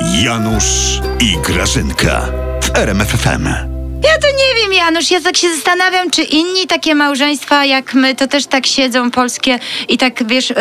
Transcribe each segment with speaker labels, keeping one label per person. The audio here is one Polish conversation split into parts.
Speaker 1: Janusz i Grażynka w RMFFM.
Speaker 2: Ja No to nie wiem, Janusz. Ja tak się zastanawiam, czy inni takie małżeństwa jak my, to też tak siedzą polskie i tak, wiesz, y,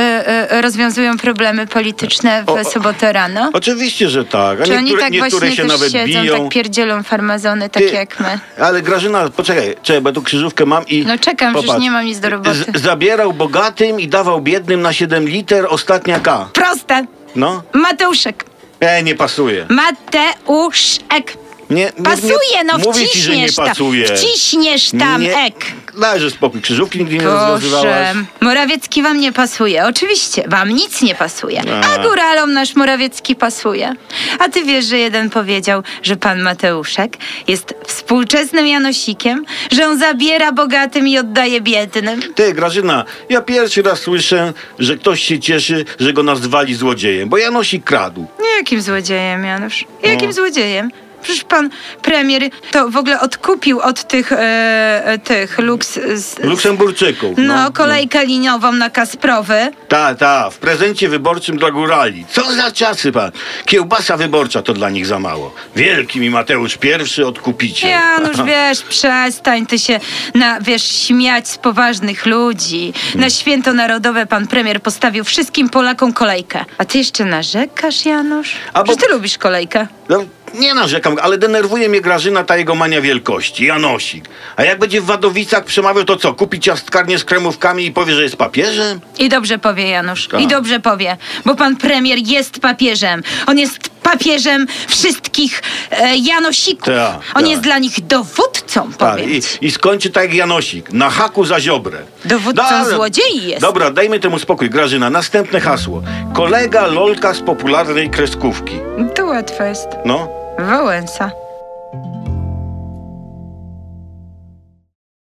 Speaker 2: y, rozwiązują problemy polityczne w
Speaker 3: O, o.
Speaker 2: sobotę rano.
Speaker 3: Oczywiście, że tak. A
Speaker 2: czy oni
Speaker 3: niektóre,
Speaker 2: tak
Speaker 3: niektóre
Speaker 2: właśnie
Speaker 3: się
Speaker 2: też
Speaker 3: nawet
Speaker 2: siedzą,
Speaker 3: biją.
Speaker 2: tak pierdzielą farmazony, tak
Speaker 3: Ty-
Speaker 2: jak my?
Speaker 3: Ale Grażyna, poczekaj, czekaj, bo tu krzyżówkę mam i...
Speaker 2: No czekam, przecież nie mam nic do roboty.
Speaker 3: Z- zabierał bogatym i dawał biednym na 7 liter, ostatnia K.
Speaker 2: Proste.
Speaker 3: No.
Speaker 2: Mateuszek.
Speaker 3: E, nie pasuje.
Speaker 2: Mateuszek.
Speaker 3: Nie, nie-
Speaker 2: Pasuje,
Speaker 3: nie,
Speaker 2: no
Speaker 3: mówię
Speaker 2: wciśniesz
Speaker 3: ci, że nie
Speaker 2: tam.
Speaker 3: pasuje.
Speaker 2: Wciśniesz tam,
Speaker 3: Nie-
Speaker 2: ek.
Speaker 3: Dajże spokój, krzyżówki nigdy nie
Speaker 2: Boże,
Speaker 3: rozwiązywałaś.
Speaker 2: Morawiecki wam nie pasuje. Oczywiście, wam nic nie pasuje. A
Speaker 3: A.
Speaker 2: góralom nasz Morawiecki pasuje. A ty wiesz, że jeden powiedział, że pan Mateuszek jest współczesnym Janosikiem, że on zabiera bogatym i oddaje biednym.
Speaker 3: Ty, Grażyna, ja pierwszy raz słyszę, że ktoś się cieszy, że go nazwali złodziejem, bo Janosik kradł.
Speaker 2: Nie, Jakim złodziejem, Janusz? Jakim złodziejem? Przecież pan premier to w ogóle odkupił od tych, e, e, tych luks... Z,
Speaker 3: Luksemburczyków.
Speaker 2: no, kolejkę liniową na Kasprowy.
Speaker 3: Ta, ta, w prezencie wyborczym dla górali. Co za czasy, pan. Kiełbasa wyborcza to dla nich za mało. Wielki mi Mateusz I odkupicie.
Speaker 2: Janusz, wiesz, przestań ty się na, wiesz, śmiać z poważnych ludzi.
Speaker 3: Mm.
Speaker 2: Na święto narodowe pan premier postawił wszystkim Polakom kolejkę. A ty jeszcze narzekasz, Janusz?
Speaker 3: A bo-
Speaker 2: Czy ty lubisz kolejkę?
Speaker 3: No, nie narzekam, ale denerwuje mnie Grażyna ta jego mania wielkości, Janosik. A jak będzie w Wadowicach przemawiał, to co, kupi ciastkarnię z kremówkami i powie, że jest papieżem?
Speaker 2: I dobrze powie, Janusz. I
Speaker 3: Tak.
Speaker 2: dobrze powie, bo pan premier jest papieżem. On jest papieżem wszystkich e, Janosików.
Speaker 3: Tak,
Speaker 2: On
Speaker 3: tak.
Speaker 2: jest dla nich dowódcą,
Speaker 3: Tak, i,
Speaker 2: powiedz.
Speaker 3: i skończy tak jak Janosik, na haku za ziobrę.
Speaker 2: Dowódcą
Speaker 3: Dobra,
Speaker 2: złodziei jest.
Speaker 3: Dobra, dajmy temu spokój, Grażyna. Następne hasło. Kolega Lolka z popularnej kreskówki.
Speaker 2: To łatwe jest.
Speaker 3: No,
Speaker 2: Wałęsa.